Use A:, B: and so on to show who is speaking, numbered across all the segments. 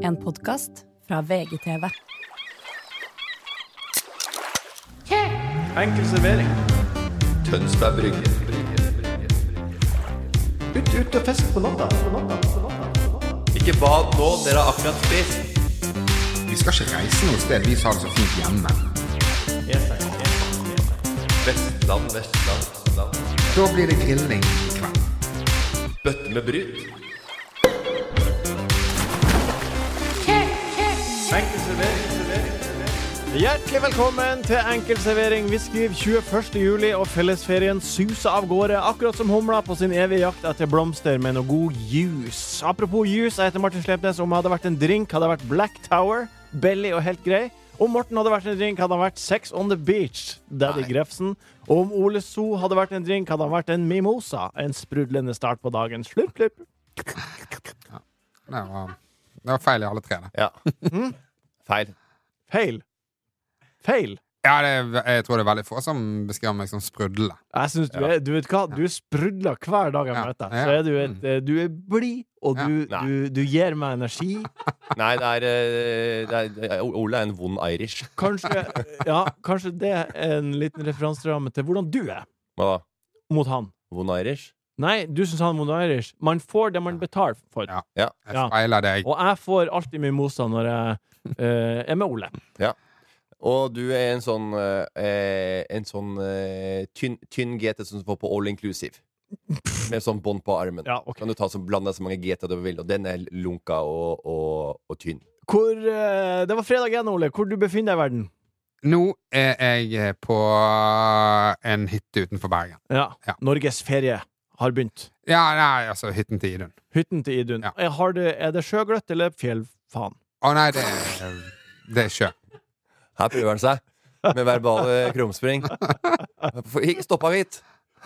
A: En podkast fra VGTV.
B: Enkel servering.
C: Tønsberg Brygge.
B: Ut, ut og fest på natta.
C: Ikke bad nå, dere har akkurat spist.
D: Vi skal ikke reise noe sted, vi som har det så fint hjemme.
C: Vestland, Vestland, Vestland.
D: Da blir det grilling i kveld.
C: Bøtte med bryt.
B: Hjertelig velkommen til Enkel servering. Vi skriver 21. juli, og fellesferien suser av gårde, akkurat som humla på sin evige jakt etter blomster med noe god juice. Apropos juice, jeg heter Martin Slepnes. Om jeg hadde vært en drink, hadde jeg vært Black Tower, Belly og helt grei. Om Morten hadde vært en drink, hadde han vært Sex on the Beach, Daddy Grefsen. Og om Ole So hadde vært en drink, hadde han vært en mimosa. En sprudlende start på dagen. Slurp, slurp.
D: Det var, det var feil i alle tre. det.
C: Ja. Mm. Feil.
B: Feil. Feil.
D: Ja, det, er- jeg tror det er veldig få som beskriver meg som sprudlende.
B: Jeg synes du, er, du vet hva, du er sprudla hver dag jeg
D: Ja.
B: møter deg.
D: Ja. Mm.
B: Så er du, et, eh, du er blid, og du,
C: Ja. Nei.
B: du, du gir meg energi.
C: Nei, det er, eh, det er Ole er en vond irish.
B: Kanskje, eh, ja, kanskje det er en liten referanseramme til hvordan du er
C: Hva da?
B: mot han.
C: Vond irish?
B: Nei, du syns han er mot Irish. Man får det man betaler for.
D: Ja.
C: Ja.
D: Jeg
B: Ja.
D: feiler deg.
B: Og jeg får alltid mye mosa når jeg eh, er med Ole.
C: Og du er en sånn eh, En sånn eh, tynn, tynn GT som du får på all inclusive. Med sånn bånd på armen.
B: Ja, ok.
C: Kan du ta så, blande så mange GT du vil, og den er lunka og, og, og tynn.
B: Hvor, eh, det var fredag igjen, Ole. Hvor du befinner deg i verden.
D: Nå er jeg på en hytte utenfor Bergen.
B: Ja.
D: Ja.
B: Norges ferie har begynt.
D: Ja, nei, altså hytten til Idun.
B: Hytten til Idun.
D: Ja.
B: Er- Har det, er det sjøgløtt eller fjellfaen?
D: Å nei, det er, det er sjø.
C: Her prøver han seg med verbale krumspring. Stoppa hvitt.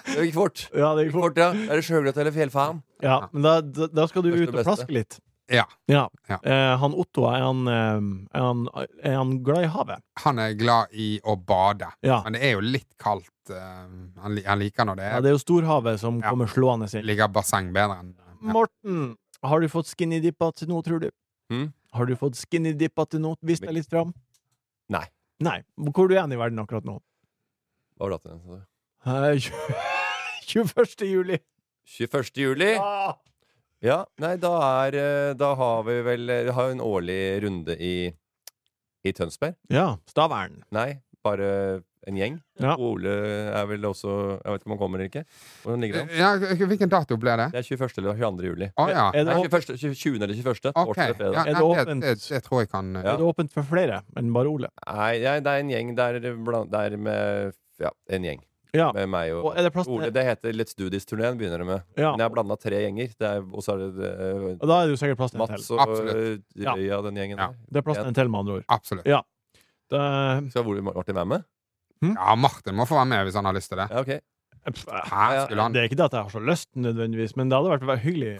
C: Det gikk fort.
B: Ja, det gikk fort.
C: Fort, ja. Er det sjøgrøt eller fjellfaen?
B: Ja, men da, da, da skal du
C: Første
B: ut og
C: beste.
B: plaske litt.
D: Ja.
B: Ja.
D: Ja.
B: Eh, han Otto, er han, eh, er, han, er han glad i havet?
D: Han er glad i å bade.
B: Ja.
D: Men det er jo litt kaldt. eh, han, li- han liker når det
B: ja
D: er,
B: det er jo storhavet som
D: Ja.
B: kommer slående inn.
D: ligger basseng bedre enn ja.
B: Morten, har du fått skinny dippa til nå, tror du?
C: Mm.
B: Har du fått skinny dippa til nå? Vis deg litt fram.
C: Nei.
B: Nei. Hvor er du igjen i verden akkurat nå?
C: Hva var det til den? sa du?
B: Eh, 21. juli.
C: 21. juli?
B: Ah!
C: Ja. Nei, da er eh, Da har vi vel eh, Vi har jo en årlig runde i I Tønsberg.
B: Ja. Stavern.
C: Nei, bare en gjeng.
B: Ja.
C: Og Ole er vel også Jeg vet ikke om han kommer eller ikke. Hvordan ligger det an?
D: Ja, Hvilken dato ble det?
C: Det er 21. eller 22. juli.
D: Å ja.
B: Er det,
C: Nei,
B: åp-
C: 21., 20. eller 21. Torsdag
D: Ok.
C: eller
D: Ja,
C: fredag.
B: Er det
D: nei,
B: åpent?
D: Det, det, det tror jeg kan eh,
C: Ja.
B: er det åpent for flere enn bare Ole?
C: Nei, ja, det er en gjeng der, blant- der med Ja, en gjeng.
B: Ja.
C: Med meg og
B: Og er det plass til
C: Ole, det heter Let's Do This-turneen, begynner det med.
B: ja.
C: Men jeg har blanda tre gjenger. Det er, og så er det eh,
B: Og da er det jo sikkert plass til en til.
C: Mats og
D: Absolutt.
C: eh,
B: Ja.
C: Røya, den gjengen
D: Ja.
C: der.
B: Det er plass til en til, med andre ord.
D: Absolutt.
B: Det,
C: Skal Ole Martin være med?
D: Ja, Martin må få være med hvis han har lyst til det.
C: Ja, ok.
B: pff, eh,
D: Her
C: Ja,
D: skulle han
B: det er ikke det at jeg har så lyst, nødvendigvis, men det hadde vært veldig hyggelig.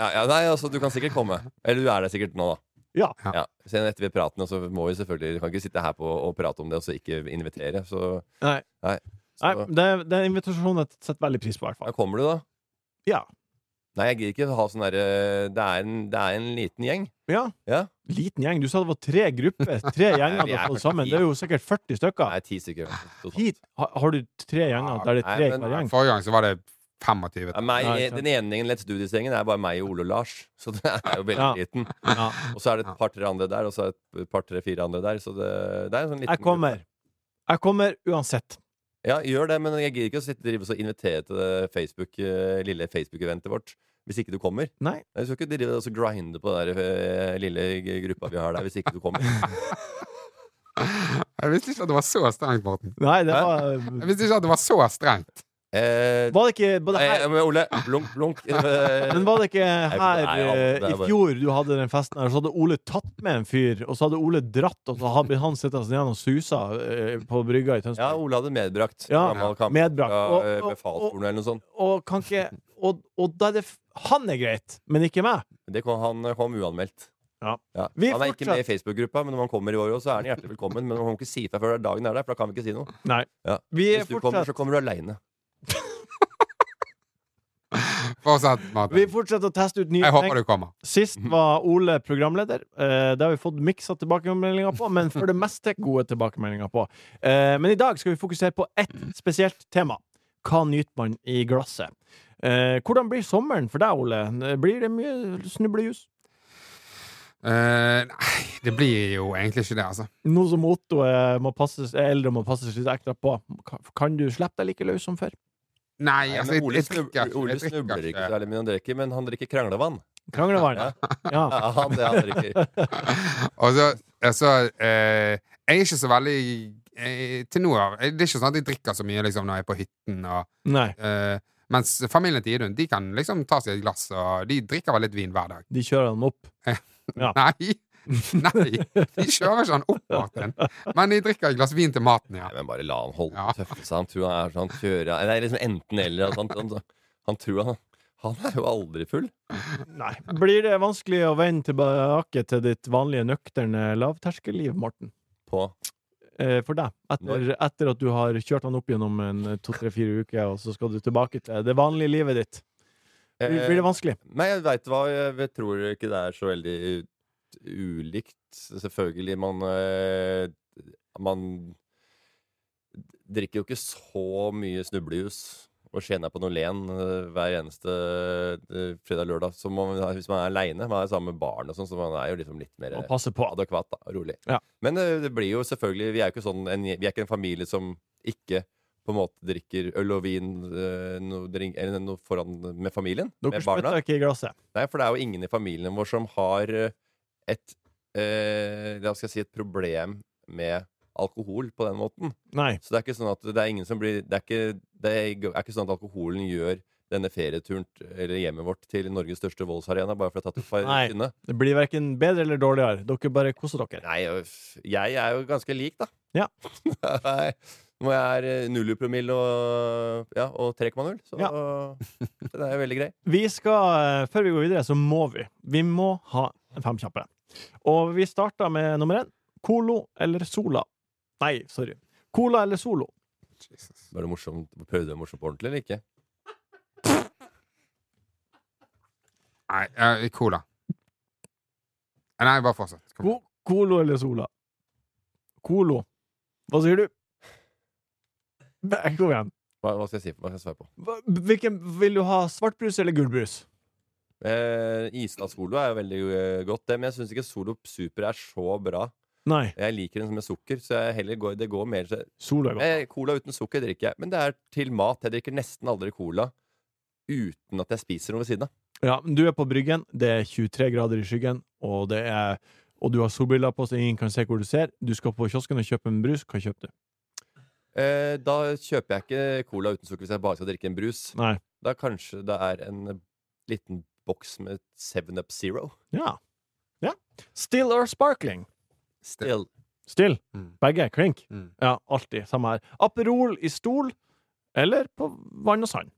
C: Ja, ja, nei, altså, du kan sikkert komme. Eller du er der sikkert nå, da.
B: Ja.
D: Ja.
C: Sen etter vi praten, og så må vi selvfølgelig Vi kan ikke sitte her på og prate om det, og så ikke invitere. Så,
B: Nei.
C: Nei.
B: Nei,
C: så
B: det, det er en invitasjon jeg setter veldig pris på, i hvert
C: da
B: fall.
C: kommer du, da.
B: Ja.
C: Nei, jeg gidder ikke ha sånn derre det, er en- det er en liten gjeng.
B: ja.
C: Ja.
B: Liten gjeng. Du sa det var tre grupper. Tre gjenger du
C: vi er
B: har fått
C: kanskje
B: sammen.
C: ti.
B: Det er jo sikkert 40 stykker.
C: Nei, ti stykker. totalt.
B: Hit har, har du tre gjenger der det er
C: Nei,
B: tre i
C: men-
B: hver gjeng?
D: Forrige gang så var det 25.
C: Ja, meg,
B: Nei, sant.
C: den ene gjengen, Let's Do This-gjengen, er bare meg og Ole og Lars. Så det er jo veldig
B: Ja.
C: liten.
B: Ja.
C: Og så er det et par-tre andre der, og så er det et par-tre-fire andre der. Så det, det er en sånn liten
B: Jeg kommer. Jeg kommer uansett.
C: Ja, gjør det, men jeg gidder ikke å sitte, drive og invitere til det Facebook, eh, lille Facebook-eventet vårt hvis ikke du kommer.
B: Nei.
C: Jeg skal ikke drive og så grinde på den der, eh, lille g- gruppa vi har der hvis ikke du kommer.
D: Jeg visste ikke at det var så strengt, Morten.
B: Nei, det var
D: Jeg visste ikke at det var så strengt.
C: Eh,
B: Var det ikke var det her,
C: eh, men Ole, blunk, blunk.
B: men var det ikke her
C: nei, ja,
B: eh,
C: det er
B: i
C: bare-
B: fjor du hadde den festen her, så hadde Ole tatt med en fyr, og så hadde Ole dratt, og så hadde han sittet seg ned og susa eh, på brygga i
C: Ja,
B: Tønsberg.
C: Ole hadde medbrakt.
B: Ja,
C: gammel kamp
B: medbrakt.
C: fra,
B: Og-
C: eh,
B: og-
C: Befalsskolen eller noe sånt.
B: Og kan ikke Og, og da er det f Han er greit, men ikke meg.
C: Det kom, han kom uanmeldt.
B: Ja. Vi
C: Han er ikke
B: fortsatt-
C: med i Facebook-gruppa, men når han kommer i år også, så er han hjertelig velkommen. Men han kan ikke si fra før dagen er der, for da kan vi ikke si noe.
B: Nei.
C: Ja.
B: Vi er
C: Hvis du kommer,
B: fortsatt
C: så kommer du aleine.
D: Fortsett, Martin.
B: Vi fortsetter å teste ut nye ting.
D: Jeg håper Mhm. du kommer.
B: Sist var Ole programleder. Eh, det har vi fått miksa tilbakemeldinger på, men for det meste gode tilbakemeldinger på. Eh, men i dag skal vi fokusere på ett spesielt tema. Hva nyter man i glasset? Eh, hvordan blir sommeren for deg, Ole? Blir det mye snublejus?
D: Eh, nei, det blir jo egentlig ikke det, altså.
B: Nå som Otto eh, må passes, er eldre og må passe seg litt ekstra på, kan- kan du slippe deg like løs som før?
D: Nei, altså, jeg,
C: men Ole
D: jeg drikker
C: snubler,
D: ikke.
C: Ole
D: Jeg
C: snubler
D: drikker
C: ikke
D: ikke.
C: særlig mye, han drikker, men han drikker kranglevann.
B: Kranglevann? Ja.
C: Ja, han, det han drikker.
D: Og så, altså, eh, jeg er ikke så veldig eh, Til nå har Det er ikke sånn at jeg drikker så mye liksom, når jeg er på hytten. Og,
B: Nei.
D: eh, mens familien til Idun De kan liksom ta seg et glass, og de drikker vel litt vin hver dag.
B: De kjører den opp. Ja.
D: Nei! Nei! De kjører ikke han opp, Martin. Men de drikker et glass vin til maten, ja.
C: Nei, men bare la han holde
D: Ja.
C: tøffe seg. Han tror han er sånn kjører Det er liksom enten eller. at Han, han, han tror han Han er jo aldri full.
B: Nei. Blir det vanskelig å vende tilbake til ditt vanlige nøkterne lavterskelliv, Morten?
C: På
B: eh, for deg. Etter, etter at du har kjørt han opp gjennom en eh, to, tre, fire uker, og så skal du tilbake til det vanlige livet ditt.
C: Eh,
B: Blir, blir det vanskelig?
C: Nei, jeg veit hva. Jeg vet- tror ikke det er så veldig ulikt. Selvfølgelig, man eh, Man drikker jo ikke så mye snublejus og skjener på Nolén eh, hver eneste eh, fredag-lørdag. Så man, hvis man er aleine, man er sammen med barn og sånn, så man er jo liksom litt mer
B: Å passe på.
C: adekvat da, og rolig.
B: Ja.
C: Men eh, det blir jo selvfølgelig Vi er jo ikke, sånn, en, vi er ikke en familie som ikke på en måte drikker øl og vin eh, noe, drink, eller noe foran med familien.
B: Dere
C: med barna.
B: spytter ikke i glasset.
C: Nei, for det er jo ingen i familien vår som har eh, et eh, La oss si et problem med alkohol på den måten.
B: Nei.
C: Så det er ikke sånn at det er ingen som blir Det er ikke, det er ikke sånn at alkoholen gjør denne ferieturen t- eller hjemmet vårt til Norges største voldsarena bare for å ha tatt et par
B: Nei.
C: tynne.
B: Det blir verken bedre eller dårligere. Dere bare koser dere.
C: Nei, øff, jeg er jo ganske lik, da.
B: Ja.
C: Nei, Når jeg er eh, null i promille og, ja, og 3,0, så det er jo veldig grei.
B: Vi skal, eh, før vi går videre, så må vi. Vi må ha fem kjappe. Og vi starter med nummer én. Colo eller Sola? Nei, sorry. Cola eller Solo?
D: Jesus.
C: Var det morsomt? Prøvde du det morsomt på ordentlig eller ikke?
D: Nei, eh, cola. Eh, Nei, bare fortsett. Kom igjen.
B: Co- Colo eller Sola? Colo. Hva sier du? Nei, Kom igjen.
C: Hva, hva skal jeg si? Hva skal jeg svare på?
B: Hva- Hvilken, vil du ha svartbrus eller gulbrus?
C: Eh, Island Solo er jo veldig eh, godt, det, men jeg syns ikke Solo Super er så bra.
B: Nei,
C: Jeg liker den med sukker, så jeg heller går, det går mer til
B: Solo er godt.
C: eh, Cola uten sukker drikker jeg, men det er til mat. Jeg drikker nesten aldri cola uten at jeg spiser noe ved siden av.
B: Ja, men du er på bryggen, det er 23 grader i skyggen, og, det er, og du har solbriller på så ingen kan se hvor du ser. Du skal på kiosken og kjøpe en brus, hva kjøper du?
C: Eh, da kjøper jeg ikke cola uten sukker hvis jeg bare skal drikke en brus.
B: Nei.
C: Da kanskje det er en liten boks med 7up Zero.
B: Ja. ja. Still or sparkling?
C: Still.
B: Still.
D: Mm.
B: Begge. Klink.
D: Mm.
B: Ja, alltid. Samme her. Aperol i stol, eller på vann og sand?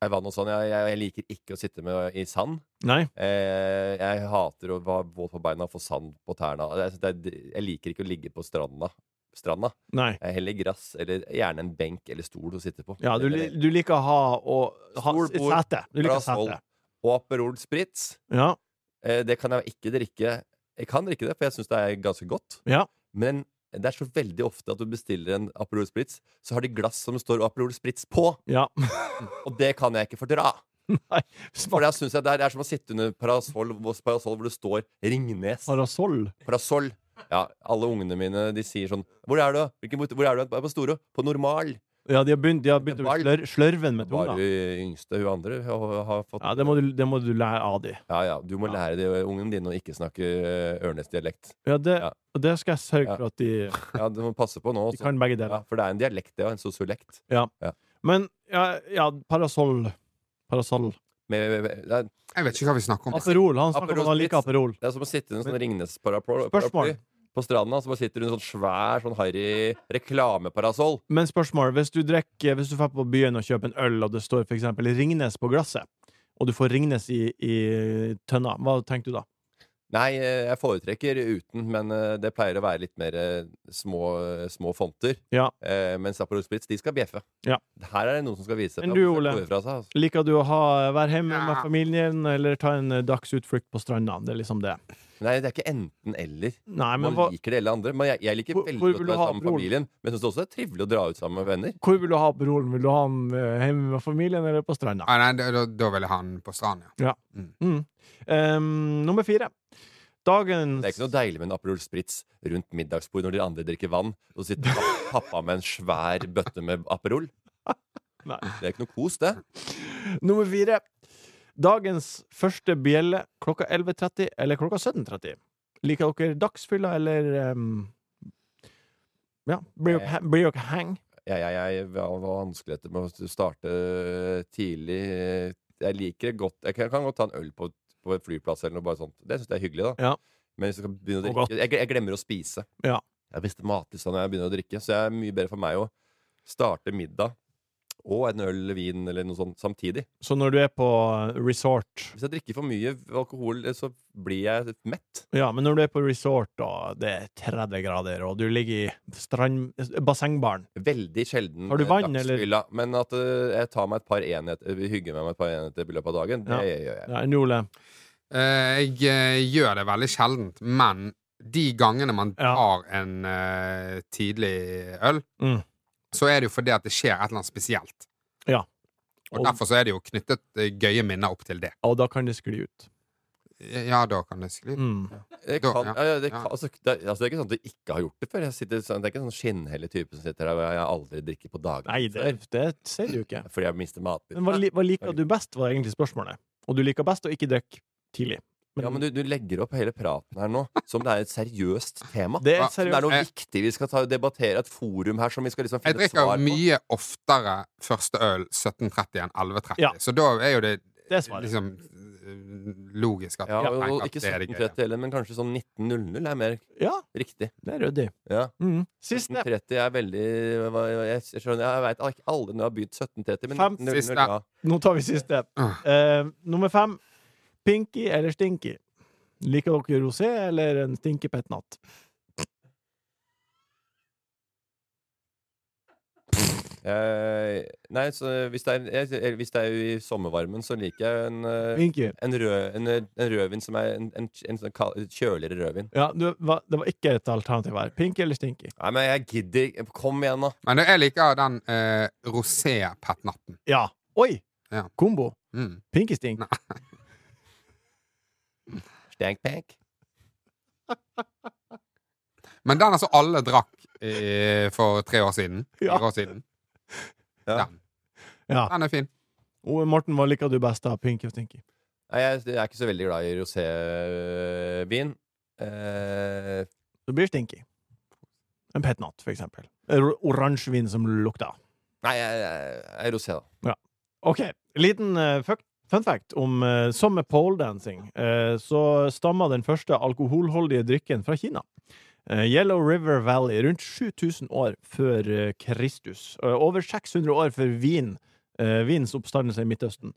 C: Jeg, vann og sånn. jeg, jeg, jeg liker ikke å sitte med i sand.
B: Nei.
C: Eh, jeg hater å være våt på beina og få sand på tærne. Jeg, synes det er- jeg liker ikke å ligge på stranda. stranda.
B: Nei.
C: Jeg heller gress, eller gjerne en benk eller stol å sitte på.
B: Ja, du, li- du liker å ha, og, ha
C: Stol, bord,
B: sete. Du liker
C: glass, hold.
B: sete.
C: Og Aperol Spritz.
B: Ja.
C: Eh, det kan jeg ikke drikke. Jeg kan drikke det, for jeg syns det er ganske godt.
B: Ja.
C: Men det er så veldig ofte at du bestiller en Aperol Spritz, så har de glass som det står Aperol Spritz på,
B: ja.
C: og det kan jeg ikke fordra. For da synes jeg det er, det er som å sitte under parasoll, parasoll hvor det står Ringnes.
B: Parasoll.
C: Parasoll. Ja, alle ungene mine de sier sånn Hvor er du? Hvilken, hvor er du? Jeg er På Storå? På Normal.
B: Ja, de har begynt, de har begynt å
C: Ball.
B: slør, slørve med
C: Bare
B: tunga.
C: yngste hun andre har har fått
B: Ja, det må, du, det må du lære av de.
C: Ja, ja. Du må lære det, ungene dine å ikke snakke eh, Ørnes-dialekt.
B: Ja, det,
C: Ja.
B: og det skal jeg sørge
C: Ja.
B: for at de,
C: Ja, du må passe på nå.
B: de
C: også.
B: kan begge
C: Ja,
B: deler.
C: for det er en dialekt, det, og en sosiolekt.
B: Men ja, ja parasoll. Parasoll.
C: Med, med, med, det, er,
D: Jeg vet ikke hva vi snakker om.
B: Aperol. Han snakker om at han liker aperol.
C: det er som å sitte under en sånn Ringnes-paraply
B: Spørsmål.
C: på stranda. Så bare sitter du under en sånn svær, sånn harry reklameparasoll.
B: Men spørsmål, hvis du drikker Hvis du drar på byen og kjøper en øl, og det står for eksempel Ringnes på glasset, og du får Ringnes i, i tønna, hva tenker du da?
C: Nei, eh, jeg foretrekker uten, men eh, det pleier å være litt mer eh, små, små fonter.
B: Ja.
C: Eh, mens Aperol Spritz, de skal bjeffe.
B: Ja.
C: Her er det noen som skal vise
B: Men
C: at
B: du,
C: de skal
B: Ole?
C: gå Fra seg, altså.
B: Liker du å ha, være hjemme med
D: Ja.
B: familien eller ta en eh, dagsutflukt på stranda? Det er liksom det.
C: Nei, det er ikke enten-eller.
B: Nei, men
C: Man
B: hva,
C: liker det eller andre. Men jeg, jeg liker
B: Hvor-
C: veldig
B: hvor
C: godt
B: vil
C: å
B: du
C: være
B: ha
C: sammen med
B: Aperol?
C: familien. Men jeg synes også det er trivelig å dra ut sammen med venner.
B: hvor vil du ha broren? Vil du ha han eh, hjemme med familien eller på stranda?
D: Ah, nei, da, da, da ville han på stranden, ja.
B: Mm. Em, nummer fire. Dagens
C: Det er ikke noe deilig med en Aperol Spritz rundt middagsbord når de andre drikker vann, og så sitter pa- pappa med en svær bøtte med Aperol.
B: Nei.
C: Det er ikke noe kos, det.
B: Nummer fire. Dagens første bjelle klokka 11.30 eller klokka 17.30. Liker dere dagsfylla eller em, Ja, blir
C: Eh.
B: dere he- blir dere hang?
C: Jeg, jeg, jeg var var vanskeligheter med å starte eh, tidlig. Jeg liker det godt. Jeg kan, kan godt ta en øl på, på en flyplass eller noe bare sånt. Det syns jeg er hyggelig, da.
B: Ja.
C: Men hvis jeg skal begynne å
B: Og
C: drikke jeg, jeg glemmer å spise.
B: Ja.
C: Jeg mister matlysta når jeg begynner å drikke, så det er mye bedre for meg å starte middag og en øl, vin eller noe sånt samtidig.
B: Så når du er på resort
C: Hvis jeg drikker for mye alkohol, så blir jeg mett.
B: Ja, men når du er på resort, og det er 30 grader, og du ligger i strand... bassengbaren
C: Veldig sjelden
B: Har du
C: eh,
B: vann, eller?
C: dagsfylla, Men at eh, jeg tar meg et par enheter Hygger meg med et par enheter i løpet av dagen, det gjør jeg.
B: ja, enn Ole.
D: Eh, jeg eh, gjør det veldig sjeldent, men de gangene man
B: Ja.
D: tar en eh, tidlig øl,
B: Mm.
D: så er det jo fordi at det skjer et eller annet spesielt.
B: Ja.
D: Og,
B: Og-
D: derfor så er det jo knyttet eh, gøye minner opp til det. Eh,
B: Og da kan det skli ut.
D: Ja, da kan det skli.
B: Mm.
C: Det
D: Da-
C: kan,
D: ja,
C: ja, ja, det,
D: ja.
C: kan, altså, det, er- altså, det er ikke sånn at du ikke har gjort det før. Jeg sitter, sånn, det er ikke sånn skinnhellig type som sitter her og jeg aldri drikker på dagen
B: Nei, det, det ser du ikke.
C: før fordi jeg mister matlyst.
B: Men hva, li, hva liker du best, var egentlig spørsmålet. Og du liker best å ikke drikke tidlig.
C: Ja, men du, du legger opp hele praten her nå som det er et seriøst tema.
B: det er
D: Hva-
C: Som det er
B: seriøst.
C: noe
D: Eh.
C: viktig vi skal ta, debattere, et forum her som vi skal liksom
D: Jeg
C: finne et
D: drikker
C: svar
D: jo
C: på.
D: mye oftere første øl 17.30 enn 11.30,
B: Ja.
D: så da er jo det
B: Det er svaret.
D: liksom eh, logisk at
C: Ja,
D: jeg
C: og,
D: tenker
C: og
D: at
C: ikke
D: det er det gøye.
C: 17.30 heller, men kanskje sånn 19.00 er mer
B: Ja,
C: riktig.
B: det er ryddig.
C: Ja.
B: Mm. Siste.
C: 1730 er veldig Jeg, jeg skjønner, jeg vet ikke alle når jeg har begynt 1730, men
B: Fem.
C: 1900,
D: Siste.
C: ja.
B: Nå tar vi siste.
D: Ah.
B: Eh, nummer fem. Pinky eller stinky? Liker dere rosé eller en stinky pet natt?
C: Eh, nei, så hvis det, er, jeg- eller hvis det er i sommervarmen, så liker jeg en, eh,
B: Pinky.
C: en, rød, en, en rødvin som er en, en, en sånn kald- kjøligere rødvin.
B: Ja, du, hva, det var ikke et alternativ her. Pinky eller stinky?
C: Nei, men jeg gidder ikke. Kom igjen, da.
D: Men jeg liker den eh, rosé-petnatten.
B: Ja. Oi!
D: Ja.
B: Kombo.
D: Mm.
B: Pinky stink.
C: Stank-pank.
D: Men den altså alle drakk eh, for tre år siden.
B: Ja.
D: Fire år siden.
C: Ja.
D: Den.
B: Ja.
D: den er fin.
B: Og Morten, hva liker du best av Pinky og Stinky?
C: Nei, jeg, jeg er ikke så veldig glad i rosévin. Eh,
B: Det blir Stinky. En pet natt, for eksempel. En or- Oransjevin som lukter.
C: nei, jeg, jeg, jeg er rosé, da.
B: Ok, liten eh, fuck- fun fact om uh, summer pole dancing. Eh, så stammer den første alkoholholdige drikken fra Kina. Eh, Yellow River Valley, rundt 7000 år før eh, Kristus. Eh, over 600 år før vin, eh, vinens oppstandelse i Midtøsten.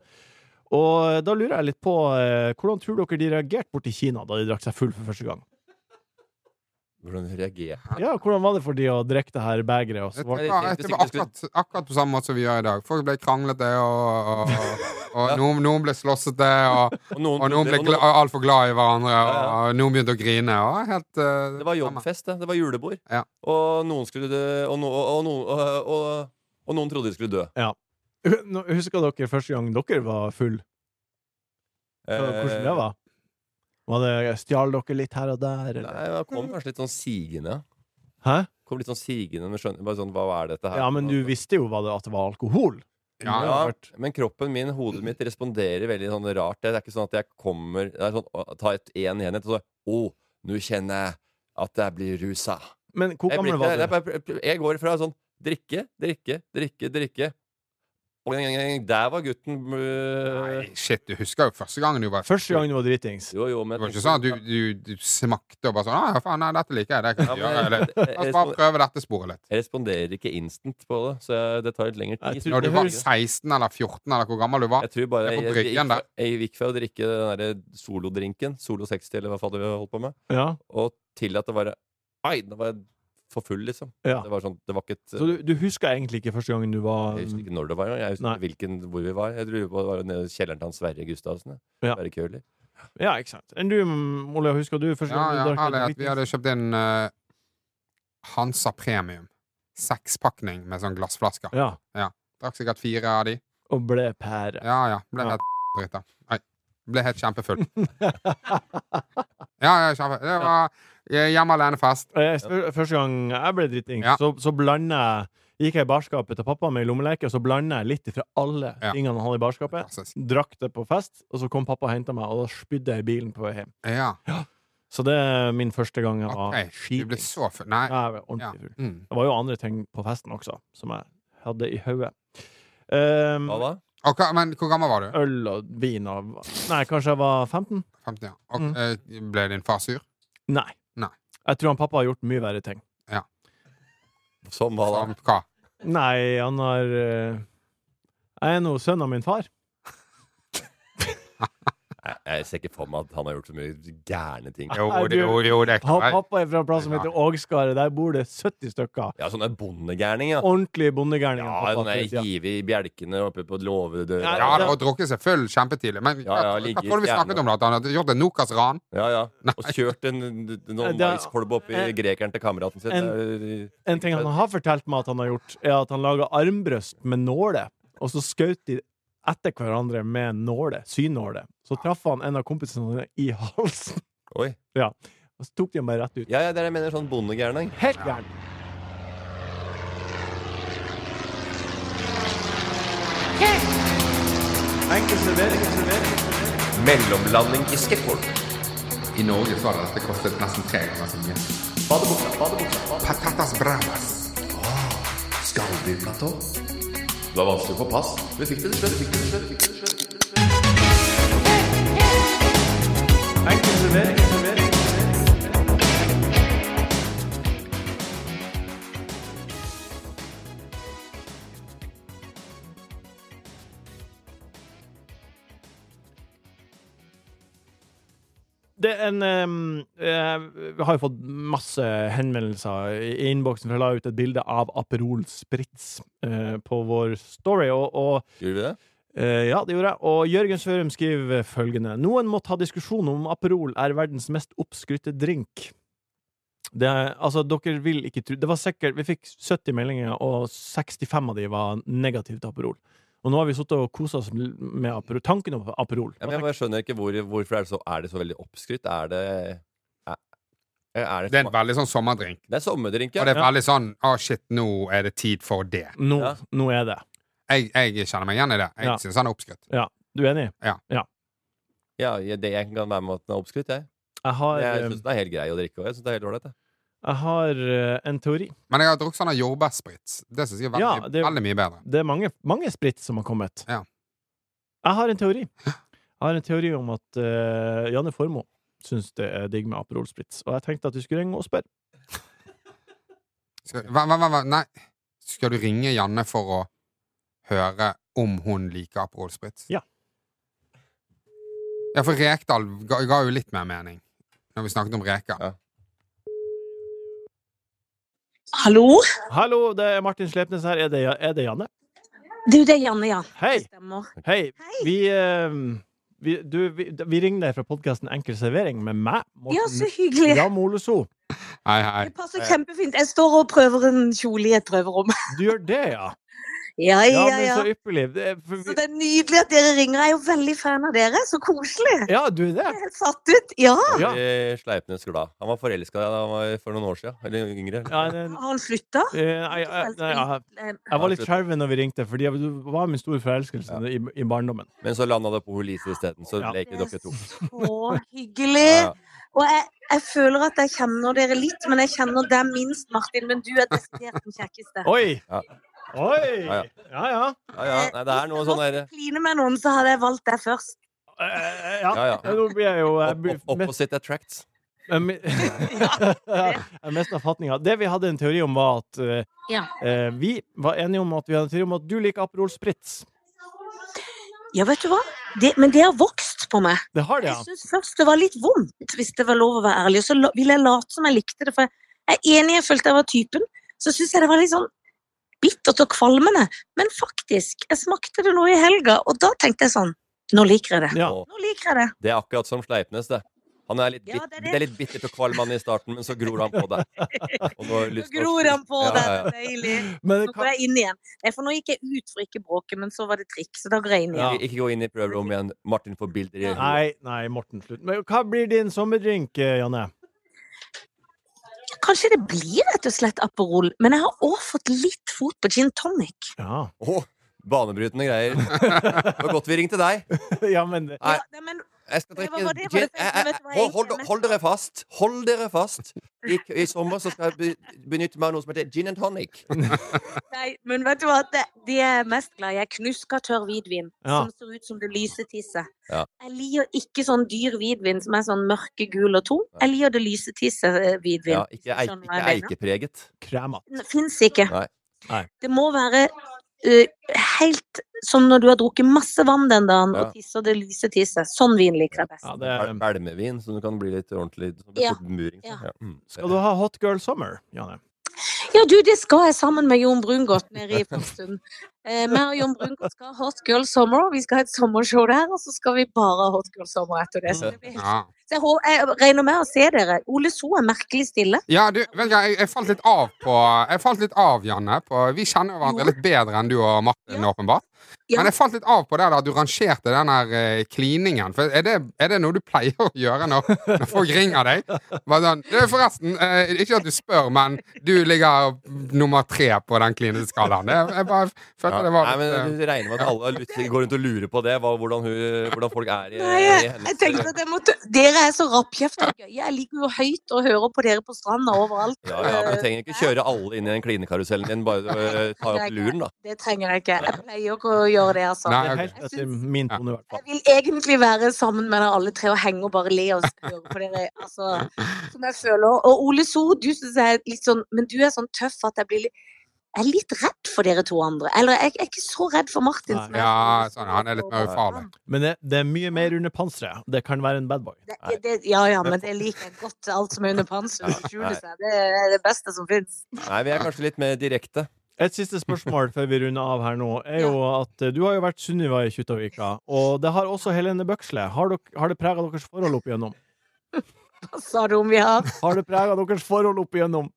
B: Og da lurer jeg litt på, eh, hvordan tror dere de reagerte borti Kina da de drakk seg full for første gang?
C: Hvordan reagerer jeg?
B: Ja, hvordan var det for de å drikke det her begeret? og så
D: Det
B: var-
D: var,
C: det-
D: ja,
C: hvis
D: det
C: ikke
D: var
C: du skulle-
D: akkurat, akkurat på samme måte som vi gjør i dag. Folk ble kranglete, og, og, og, og noen, noen ble slåssete, og,
C: Og noen,
D: og noen ble
C: og
D: gla- altfor glad i hverandre, og,
C: Ja,
D: noen begynte å grine. Og helt, eh,
C: Det var
D: samme.
C: jobbfest, det. Det var julebord.
D: Ja.
C: Og noen skulle dø, og, no, og, no, og, og, og noen trodde de skulle dø.
B: Nå Husker dere første gang dere var full?
C: Eh,
B: Hva- Hvordan det var? Var det Stjal dere litt her og der? Eller?
C: Nei, det kom kanskje litt sånn sigende.
B: Hæ?
C: Kom litt sånn sigende men skjønner, bare sånn, Hva er dette her?
B: Ja, men du visste jo hva det, at det var alkohol.
D: Ja,
C: ja, men kroppen min, hodet mitt, responderer veldig sånn rart. Det er ikke sånn at jeg kommer Det er sånn å, Ta et én enhet, og så Å, nå kjenner jeg at jeg blir rusa.
B: Men hvor
C: Jeg, blir
B: gammel
C: ikke-
B: var
C: jeg,
B: du?
C: bare- jeg går fra sånn drikke, drikke, drikke, drikke Der var gutten øh,
D: Nei, shit, du husker jo første gangen du var
B: Første gang du var dritings.
C: Jo, jo, men
D: Det var
C: jeg
D: ikke
C: tenker-
D: sånn at du, du, du smakte og bare sånn «Å, ja, faen, nei, dette liker jeg. Det kan
C: Ja,
D: jeg
C: men-
D: gjøre. Eller, La oss bare prøve dette sporet litt.
C: Jeg responderer ikke instant på det, så jeg, det tar litt lengre
B: Jeg
C: tid.
B: tror-
D: Når du
B: det
D: var
B: høres-
D: 16 eller 14 eller hvor gammel du var
C: Jeg tror bare
D: Jeg
C: jeg,
D: får
C: jeg,
D: brygge igjen
C: gikk,
D: der.
C: jeg gikk fra å drikke den der eh, solodrinken, Solo 60 eller hva faen vi holdt på med,
B: Ja,
C: og til at det bare Ai, da var jeg for full, liksom.
B: ja.
C: Det var sånn, det var ikke et
B: Så du, du husker egentlig ikke første gangen du var
C: Jeg husker ikke når det var, jeg husker
B: Nei.
C: ikke hvilken, hvor vi var. Jeg lurer på det var nede i kjelleren til han Sverre Gustavsen. jeg.
B: Ja.
C: Sverre Køhler.
B: Ja, ikke sant. Enn du, mm, Ole, husker du første
D: Ja,
B: gang
D: ja,
B: du drakk
D: herlighet. Vi
B: dritings?
D: hadde kjøpt inn eh, Hansa Premium. Sekspakning med sånn glassflasker.
B: Ja.
D: Drakk sikkert fire av de.
B: Og ble pære.
D: Ja, ja. Ble
B: Ja.
D: helt dritt, da. Nei. Ble helt kjempefull. Ja, ja, kjempe. Det var eh, hjemme alene-fest.
B: Og jeg- før- Første gang jeg ble dritings,
D: Ja.
B: så, så blanda jeg Gikk jeg i barskapet til pappa med en lommeleke, og så blanda jeg litt fra alle
D: Ja.
B: tingene han hadde i barskapet.
D: Klassisk.
B: Drakk det på fest, og så kom pappa og henta meg, og da spydde jeg i bilen på vei hjem.
D: Ja.
B: Så det er min første gang jeg var
D: OK. Du ble
B: skitings.
D: så full. Nei.
B: Jeg var
D: Ja.
B: ordentlig full.
D: Mm.
B: Det var jo andre ting på festen også, som jeg hadde i hodet. Ehm,
C: Hva da?
D: Og hva- men hvor gammel var du?
B: øl og vin og Nei, kanskje jeg var 15?
D: 15, ja. Og,
B: Mm.
D: eh, ble din far sur?
B: Nei.
D: Nei.
B: Jeg tror han pappa har gjort mye verre ting.
C: Som hva da?
D: Som hva?
B: Nei, han har eh, Jeg er nå sønn av min far.
C: Jeg, jeg ser ikke for meg at han har gjort så mye gærne ting.
D: Jo,
B: Nei,
D: det, jo,
B: du-
D: jo, det er
B: Han,
D: klart.
B: pappa er fra en plass som heter Ågskaret. Der bor det 70 stykker.
C: Ja, sånne bondegærninger. Ja,
B: Ordentlige bondegærninger.
C: ja
B: pappa til
C: sånne
B: tida.
C: hive i bjelkene oppe på låvedøra.
D: Ja,
B: Ja,
D: og drukket seg full kjempetidlig. Men
C: Ja, ja,
D: hva-
C: ligger
D: hva tror du vi
C: i
D: snakket om da? At han hadde gjort et Nokas-ran?
C: Ja, ja. Og kjørt en, noen
B: Det er-
C: maiskolbe oppi
B: en-
C: grekeren til kameraten sin.
B: en-
C: Det er-
B: En ting han har fortalt meg at han har gjort, er at han laga armbrøst med nåle, og så skjøt de etter hverandre med nåle, synåle. Så traff han en av kompisene sine i halsen,
C: Oi.
B: og så tok de ham bare rett ut.
C: Ja, ja, det er det jeg mener. Sånn bondegærning.
B: Helt gæren!
C: Mellomlanding i skateboard.
D: I Norge så hadde dette kostet nesten tre ganger så mye. Patatas bravas.
E: Skalldyrblatå. Det var vanskelig å få pass. Vi fikk det til slutt. vi fikk det til slutt, vi fikk det til slutt.
B: det er en ehm, eh, Vi har jo fått masse henvendelser i innboksen, for jeg la ut et bilde av Aperol Spritz eh, på vår story. Og, og
C: Gjorde vi det?
B: eh, ja, det gjorde jeg. Og Jørgen Sørum skriver følgende Noen må ta diskusjon om Aperol er verdens mest oppskrytte drink. Det, er- altså, dere vil ikke tro Det var sikkert Vi fikk 70 meldinger, og 65 av de var negative til Aperol. Og nå har vi sittet og kosa oss med Aperol, tanken om Aperol.
C: Ja, men jeg bare skjønner ikke hvor, hvorfor er det, så, er det så veldig oppskrytt. Er det er, er
D: Det
C: det,
D: er en veldig sånn sommerdrink.
C: det er sommerdrink,
D: Og
C: ja.
D: det er veldig sånn Å, shit, nå er det tid for det.
B: Nå,
C: Ja.
B: nå er det.
D: Jeg, jeg kjenner meg igjen i det.
B: Ja.
D: Jeg synes han er oppskrytt.
B: Du er enig?
C: ja jeg- det, jeg kan være med at den er oppskrytt, jeg.
B: Jeg har,
C: Jeg
B: eh,
C: syns den er helt grei å drikke. Og jeg synes det er helt ålreit, jeg.
B: jeg har eh, en teori.
D: Men jeg har drukket sånn av jordbærsprit. Det synes jeg er veldig,
B: Ja, det-
D: veldig mye bedre.
B: Det er mange, mange spritt som har kommet.
D: Ja.
B: Jeg har en teori. Jeg har en teori om at eh, Janne Formoe syns det er digg med Aperol Spritz, og jeg tenkte at du skulle ringe og spørre.
D: Skal, hva, hva, hva, hva, nei. Skal du ringe Janne for å høre om hun liker Aperol Spritz?
B: Ja.
D: Ja, for Rekdal ga, ga jo litt mer mening når vi snakket om reker.
C: Ja.
F: Hallo?
B: Hallo, det er Martin Slepnes her. Er det, er det Janne?
F: Du, det er Janne, ja.
B: Hei!
F: Det stemmer.
B: Hei! Vi, eh, vi, du, vi, vi ringer deg fra podkasten Enkel servering med meg,
F: Ja, så
B: Morten
F: hyggelig.
B: Ramm Oleso.
D: Hei, hei.
F: Det passer kjempefint. Jeg står og prøver en kjole i et prøverom.
B: Du gjør det, ja?
F: Ja,
B: Ja,
F: ja,
B: men
F: ja.
B: så ypperlig. Det er- for
F: Så
B: vi-
F: det er nydelig at dere ringer. Jeg er jo veldig fan av dere. Så koselig.
B: Ja, du er det?
F: Jeg er helt satt ut. Ja.
C: Jeg
B: Ah! Ja.
C: blir Sleipnes glad. Han var forelska for noen år siden. Eller yngre.
B: ja det-
F: Har han slutta?
B: eh, nei, jeg- nei, jeg-
F: Eh,
B: Jeg var litt skjelven når vi ringte, fordi jeg var min store forelskelse i, i barndommen.
C: Men så landa det på hun Lise isteden. Så
B: Ja. Eh.
C: leker dere to. Ja.
F: Så hyggelig. Og jeg, jeg føler at jeg kjenner dere litt, men jeg kjenner deg minst, Martin. Men du er desidert den kjekkeste.
B: Oi! Oi!
C: Ja, ja.
B: Ja, ja.
C: Ja, ja. Nei, det er noe sånn derre
F: Kline med noen, så hadde jeg valgt deg først.
B: Eh, ja.
C: Ja, ja.
B: Nå blir jeg jo jeg
C: opp,
B: blir
C: opp, Opposite attracts.
B: Jeg mi- Jeg mista fatninga. Det vi hadde en teori om, var at eh,
F: Ja.
B: eh, Vi var enige om at vi hadde en teori om at du liker Aperol Spritz.
F: Ja, vet du hva? Det, men det har vokst på meg.
B: Det har det,
F: Jeg
B: ja.
F: syns først det var litt vondt, hvis det var lov å være ærlig. Og så la- ville jeg late som jeg likte det, for jeg- jeg er enig, jeg følte jeg var typen. Så syns jeg det var litt sånn bittert og kvalmende. Men faktisk, jeg smakte det nå i helga, og da tenkte jeg sånn Nå liker jeg det.
B: ja.
C: Og
F: Nå liker jeg det.
C: det er akkurat som Sleipnes, det. Han er litt,
F: Ja,
C: bit,
F: det er
C: det
F: det.
C: er litt bittert og kvalm han i starten, men så gror han på det. Og nå har jeg
F: Nå
C: lyst til å-
F: gror han på
C: Ja,
F: det.
C: ja, ja.
F: Deilig.
B: Men
F: Nå
B: hva,
F: går jeg inn igjen. Nei, for nå gikk jeg ut for ikke bråke, men så var det trikk, så da går jeg inn igjen.
B: Ja.
C: Ikke, ikke gå inn i prøverommet igjen. Martin får bilder i huet.
B: Nei, nei, Morten, slutt. Men hva blir din sommerdrink, eh, Janne?
F: Kanskje det blir rett og slett Aperol, men jeg har òg fått litt fot på gin tonic.
B: Ja,
C: Åh, banebrytende greier. Det var godt vi ringte deg.
B: ja men
C: Nei.
F: Ja, nei, men
C: Jeg skal
F: Men
C: drikke
F: hva var det for
C: gin-
F: det?
C: jeg- jeg-
F: Vet du hva jeg
C: hold, hold,
F: egentlig
C: hold dere fast! Hold dere fast! I, i sommer så skal jeg be, benytte meg av noe som heter gin and tonic.
F: Nei, men vet du hva? Det, det jeg er mest glad i er knuska tørr hvitvin
B: Ja.
F: som ser ut som det lyse tisset.
C: Ja.
F: Jeg liker ikke sånn dyr hvitvin som er sånn mørkegul og tung. Jeg liker det lyse tisset eh, hvitvin.
C: Ja, ikke eik,
F: Skjønner sånn, hva
C: ikke
F: jeg mener.
C: eikepreget.
B: krema.
F: Det fins ikke.
C: Nei.
B: Nei.
F: Det må være eh, helt som når du har drukket masse vann den dagen
C: Ja.
F: og tisser det lyse tisset. Sånn vin liker jeg best.
B: Ja, det,
C: Bel- Belmevin, så du kan bli litt ordentlig så blir
F: Ja.
C: det fort muring. så.
F: Ja.
C: Ja. mm.
B: skal du ha Hot Girl Summer, Janne?
F: Ja, du, det skal jeg sammen med Jon Brungot nede i Framstund. Eh, meg og Jon Brungot skal ha Hot Girl Summer. og Vi skal ha et sommershow der, og så skal vi bare ha Hot Girl Summer etter det. Så, det blir...
D: Ja.
F: så jeg, hå- jeg regner med å se dere. Ole So er merkelig stille.
D: Ja, du, vet du hva, jeg, jeg falt litt av på Jeg falt litt av, Janne. På, vi kjenner jo hverandre litt bedre enn du og Martin, åpenbart.
F: Ja.
D: Men jeg falt litt av på det der at du rangerte den der eh, kliningen. For er det, er det noe du pleier å gjøre når, når folk ringer deg? Bare sånn, «Du, forresten, eh, ikke at du spør, men du ligger nummer tre på den klineskalaen. Jeg, jeg bare følte
C: Ja.
D: det var
C: Nei,
D: litt, eh,
C: men Jeg regner med at alle lytter- går rundt og lurer på det, hva, hvordan, hun, hvordan folk er i,
F: Nei,
D: Eh,
C: i
F: jeg,
C: hennes
F: jeg tenkte at jeg måtte Dere er så rappkjefta. Jeg liker jo høyt å høre på dere på stranda overalt.
C: ja, ja, men Du trenger ikke kjøre alle inn i den klinekarusellen din, bare eh, ta opp luren, da.
F: Det trenger jeg ikke. Jeg pleier ikke å gjøre det, altså.
D: Nei,
B: Det er
D: ok.
B: helt etter min tone, i hvert fall.
F: Jeg vil egentlig være sammen med dere alle tre og henge og bare le og høre på dere. Altså, som jeg føler. Og Ole So, du syns jeg er litt sånn Men du er sånn tøff at jeg blir litt jeg er litt redd for dere to andre. Eller jeg jeg er ikke så redd for Martin. som jeg er
D: Ja,
F: for Ole So.
D: sånn, han er litt mer ufarlig.
B: Men det, det er mye mer under panseret. Det kan være en badboy.
F: Det, det, ja ja, men det liker jeg godt. Alt som er under panseret, som skjuler seg. Det er det beste som fins.
C: Nei, vi er kanskje litt mer direkte.
B: Et siste spørsmål før vi runder av her nå, er jo at eh, du har jo vært Sunniva i Kjuttaviga, og det har også Helene Bøksle. Har, dok, har det prega deres forhold opp igjennom?
F: Hva sa du om vi har
B: Har det prega deres forhold opp igjennom?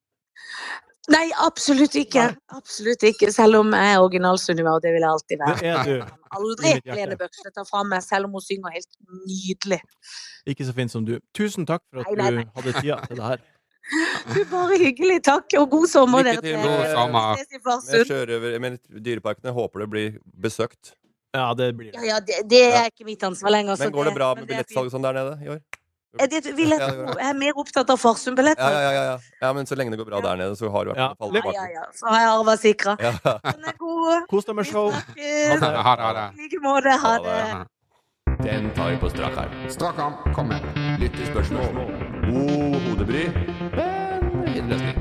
F: Nei, absolutt ikke. Absolutt ikke. Selv om jeg er original Sunniva, og det vil jeg alltid være.
B: Det er du.
F: Aldri
B: I mitt hjerte.
F: Lene Bøksle tar fra meg, selv om hun synger helt nydelig.
B: Ikke så fin som du. Tusen takk for at
F: Nei, nei,
B: du
F: nei.
B: hadde tida til det her.
F: Du, bare hyggelig. Takk, og god sommer,
C: Lykke
F: dere
C: til,
D: god sommer.
F: Vi ses i
C: Med
F: Farsund.
C: sjørøver, men dyreparkene håper det blir besøkt.
B: Ja, det blir
F: Ja,
B: det.
F: ja, det, det er ikke mitt ansvar lenger. så
C: Men går det bra
F: men
C: med
F: er
C: billettsalg og sånn der nede i år?
F: fint. Eh, Det vil jeg
C: Ja, det
F: tro.
C: går bra.
F: Jeg er mer opptatt av Farsund-billetter.
C: Ja, ja, ja, ja, ja. ja, men så lenge det går bra der nede, så har du i hvert
B: Ja.
C: fall
B: Ja,
C: falt
F: ja,
C: tilbake.
F: ja. Så har jeg arva sikra.
C: Ja.
F: Den er god.
B: Kos deg med
F: Vi
B: show.
F: snakkes.
D: Ha det, ha det.
F: I like måte. Ha
C: Ha det.
F: det.
E: Den tar vi på strak arm.
D: Strak arm, kom med.
E: Lyttespørsmål. God hodebry, men fin løsning.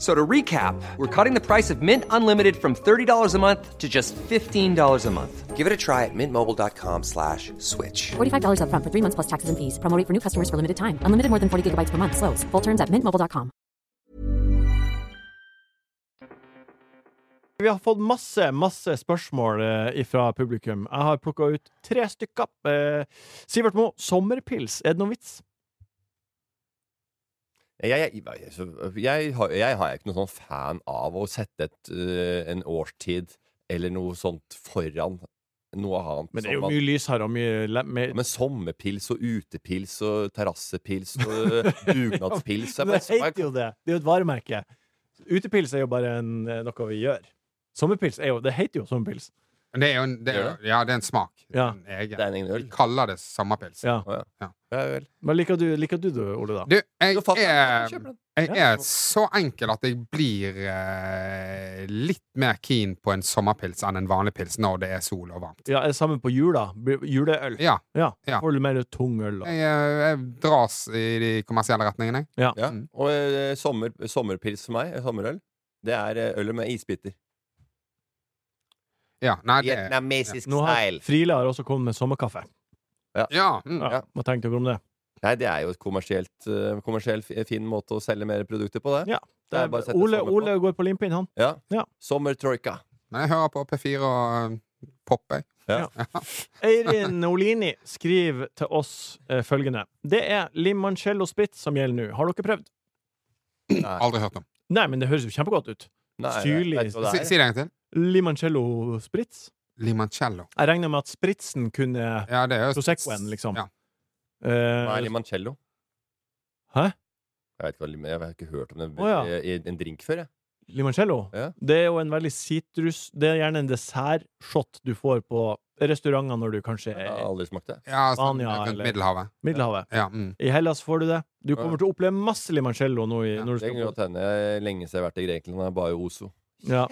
G: So to recap, we're cutting the price of Mint Unlimited from $30 a month to just $15 a month. Give it a try at mintmobile.com slash switch.
H: $45 up front for three months plus taxes and fees. Promoting for new customers for limited time. Unlimited more than 40 gigabytes per month. Slows. Full terms at mintmobile.com.
B: Vi har fått masse, masse spørsmål eh, fra publikum. Jeg har plukka ut tre stykker. Eh, Sivert Moe, sommerpils, er det noen vits?
C: Jeg, jeg, jeg, jeg, har, jeg har ikke noen sånn eh, fan av å sette et, øh, en årstid eller noe sånt foran noe annet.
B: Men det
C: som
B: er jo
C: man-
B: mye lys her og mye le- mer
C: Ja, Men sommerpils og utepils og terrassepils og dugnadspils jeg
B: Men
C: bare-
B: Det heter jo det. Det er jo et varemerke. Utepils er jo bare en, eh, noe vi gjør. Sommerpils er jo Det heter jo sommerpils.
D: Men Det er jo en, det er,
C: Gjør
D: jo- ja, det er en smak.
B: Ja.
D: En egen.
C: Det er en egen øl.
D: De kaller det sommerpils.
B: Ja.
C: Å,
D: Ja.
C: ja. ja vel.
B: Men liker du, liker du det, Ole, da?
D: Du, jeg
C: Du, faen,
D: er,
C: kjøp den.
D: jeg
B: Ja.
D: er så enkel at jeg blir eh, litt mer keen på en sommerpils enn en vanlig pils når det er sol og varmt.
B: Ja, er det samme på jula? Bu- Juleøl?
D: Ja.
B: Ja.
D: Ja.
B: Får du mer tung øl, da?
D: Jeg, eh, jeg dras i de kommersielle retningene, jeg.
B: Ja.
C: Ja. Og eh, sommer, sommerpils for meg, eh, sommerøl, det er eh, ølet med isbiter.
D: Ja. Nei, det er
C: Vietnamesisk
B: Nå har Frila har også kommet med sommerkaffe.
D: Ja. Mm.
B: Ja.
C: Ja.
B: Hva tenkte dere om det?
C: Nei, det er jo et kommersielt, eh, kommersielt fi- fin måte å selge mer produkter på, det.
B: Ja.
C: Det er bare å sette
B: Ole,
C: sommer på.
B: Ole går på limpinn, han.
C: Ja.
B: Ja.
C: Sommertroika.
D: Men jeg hører på P4 og eh, pop, jeg.
B: Eirin Olini skriver til oss eh, følgende. Det er limoncello spit som gjelder nå. Har dere prøvd?
C: Nei.
D: Aldri hørt om.
B: Nei, men det høres jo kjempegodt ut.
C: Nei,
B: Syrlig.
C: jeg vet ikke hva
D: Si,
C: det er.
D: si det en gang til.
B: Limoncello spritz?
D: Limoncello.
B: Jeg regner med at spritsen kunne
D: Ja, det er jo
B: Proseccoen, liksom.
D: Ja.
B: eh,
C: Hva er limoncello?
B: Hæ?
C: Jeg vet ikke hva lim- Jeg har ikke hørt om det Eh,
B: Å, ja.
C: i, i en drink før, jeg.
B: Limoncello?
C: Ja.
B: Det er jo en veldig sitrus Det er gjerne en dessertshot du får på restauranter når du kanskje
C: Jeg
B: er
C: har
B: i
C: aldri smakt det.
D: Ja, sånn,
B: Spania,
D: rundt
B: eller-
D: Middelhavet.
B: Middelhavet.
D: Ja, mm.
B: I Hellas får du det. Du
C: Ja.
B: kommer til å oppleve masse limoncello nå i,
D: Ja,
B: når du
C: Det kan
B: skal
C: godt hende. Jeg er Lenge siden jeg har vært i Grekland. Jeg er bare i Ozo.
B: Ja.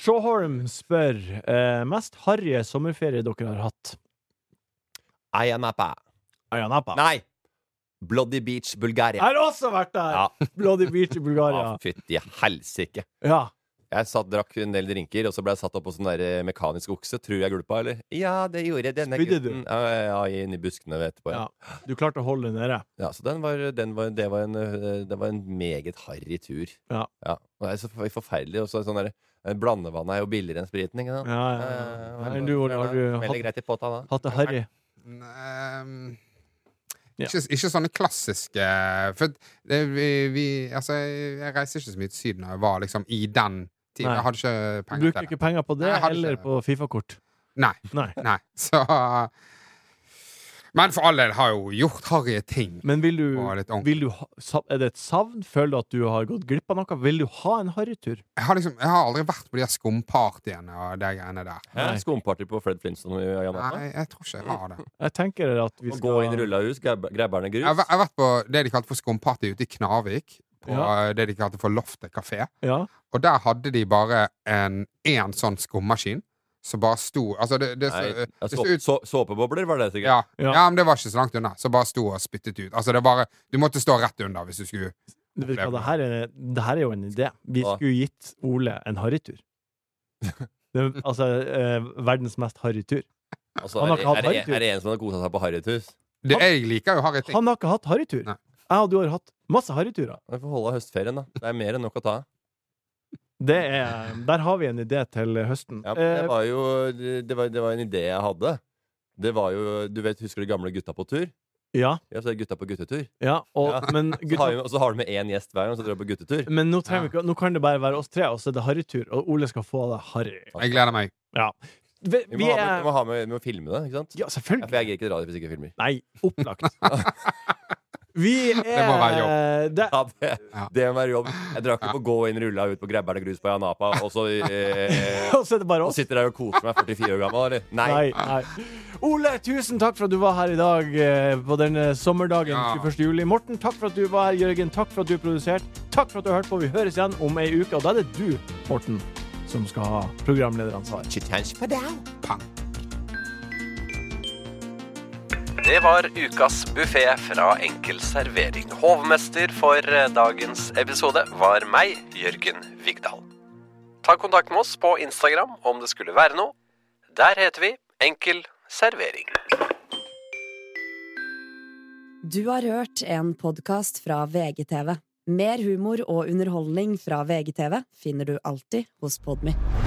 B: Shawholm spør eh, mest harrige sommerferie dere har hatt.
C: Ayanapa.
B: Ayanapa.
C: Nei! Bloody Beach,
B: Jeg
C: Bulgaria.
B: har også vært der!
C: Ja.
B: Bloody Beach i
C: Ah,
B: Bulgaria.
C: Fytti helsike.
B: Ja.
C: Jeg satt, drakk en del drinker, og så ble jeg satt opp på sånn der eh, mekanisk okse. Tror jeg gulpa, eller? Ja, det gjorde jeg. Denne
B: Spydde du?
C: gutten. Ja, ja, ja, inn i buskene etterpå. Ja.
B: Ja. Du klarte å holde det nede.
C: Ja, så den var, den var, det, var en, eh, det var en meget harry tur.
B: Ja.
C: Og det er så for- forferdelig. Og så sånn der, eh, Blandevannet er jo billigere enn spriten. Ikke sant? Eh,
B: Ja, ja, ja. Men du, Ole, har du
C: Veldig
B: hatt,
C: greit i potta, da.
B: hatt det harry?
D: Ehm,
B: Ja.
D: ikke, ikke sånne klassiske For det, vi, vi Altså, jeg, jeg reiste ikke så mye til Syden da jeg var liksom i den tiden.
B: Nei.
D: Jeg hadde ikke
B: Du
D: penger
B: bruker
D: til det.
B: ikke penger på det
D: Nei, jeg hadde
B: eller
D: ikke-
B: på Fifa-kort?
D: Nei.
B: Nei.
D: Nei. Så Men for all del har jeg jo gjort harry ting.
B: Men vil du,
D: Og litt ordentlig.
B: vil du ha, sa- Er det et savn? Føler du at du har gått glipp av noe? Vil du ha en harrytur?
D: Jeg har liksom Jeg har aldri vært på de her skumpartyene og de greiene der.
B: Nei.
C: Hæ? Skumparty på Fred Flintstone i Ayanapa?
D: Nei, jeg tror ikke jeg har det.
B: Jeg tenker at vi
C: Å
B: skal
C: Gå inn i rulla hus, grabberne grus.
D: Jeg har væ- jeg har vært på det de kalte for skumparty ute i Knarvik. På
B: Ja.
D: eh, det de kalte for Loftet kafé.
B: Ja.
D: Og der hadde de bare en, en sånn skummaskin som bare sto Altså, det, det,
C: Nei,
D: så,
C: ja,
D: det
C: så,
D: så ut
C: så, såpebobler var det sikkert.
D: ja,
B: Ja.
D: ja. men det var ikke så langt unna. Så bare sto og spyttet ut. Altså, det bare Du måtte stå rett under hvis du skulle
B: Vet du hva, det her, er, det her er jo en idé. Vi
C: Hva?
B: skulle gitt Ole en harrytur. Det er, Altså eh, verdens mest harrytur.
C: Altså,
B: Han
C: er,
B: har
C: det-
B: ikke hatt
C: er, det-
B: harrytur.
C: er det en som har kosa seg på harrytus?
D: det, Jeg liker jo harry ting.
B: Han har ikke hatt harrytur!
D: Nei.
B: Jeg og du har hatt masse harryturer.
C: Vi får holde av høstferien, da. Det er mer enn nok å ta.
B: Det er, der har vi en idé til høsten.
C: Ja, men det
B: eh,
C: var jo det var, det var en idé jeg hadde. Det var jo Du vet, husker du gamle Gutta på tur?
B: Eh, ja,
C: Ja, så er det Gutta på guttetur.
B: ja, og,
C: Ja.
B: Men,
C: Så har
B: gutta,
C: vi, og så har du med én gjest hver gang, så drar du på guttetur.
B: men nå, trenger vi ikke, nå kan det bare være oss tre, og så er det harrytur. Og Ole skal få det harry.
D: Jeg gleder meg.
B: Vi,
C: Vi
B: vi
C: må, ha med, vi
B: er
C: må, ha med, vi må filme det, ikke sant?
B: Ja,
C: Ja,
B: selvfølgelig.
C: for jeg gir ikke radio hvis jeg ikke filmer.
B: Nei, opplagt. Vi er
D: Det må være
B: det-
C: Ja, det,
D: Ja.
C: det må være jobb. Jeg drakk ikke på gå inn, rulla ut på grabberne grus på Janapa, og så eh,
B: Og så er det bare
C: Og
B: oss.
C: sitter der og koser meg 44 år gammel, eller? Nei.
B: Nei, nei. Ole, tusen takk for at du var her i dag eh, på denne sommerdagen
D: Ja.
B: 21. juli. Morten, takk for at du var her. Jørgen, takk for at du produserte. Takk for at du hørte på. Vi høres igjen om ei uke, og da er det du, Morten, som skal ha programlederansvar.
I: Det var ukas buffé fra Enkel servering. Hovmester for eh, dagens episode var meg, Jørgen Vigdal. Ta kontakt med oss på Instagram om det skulle være noe. Der heter vi Enkel servering.
J: Du har hørt en podkast fra VGTV. Mer humor og underholdning fra VGTV finner du alltid hos Podmy.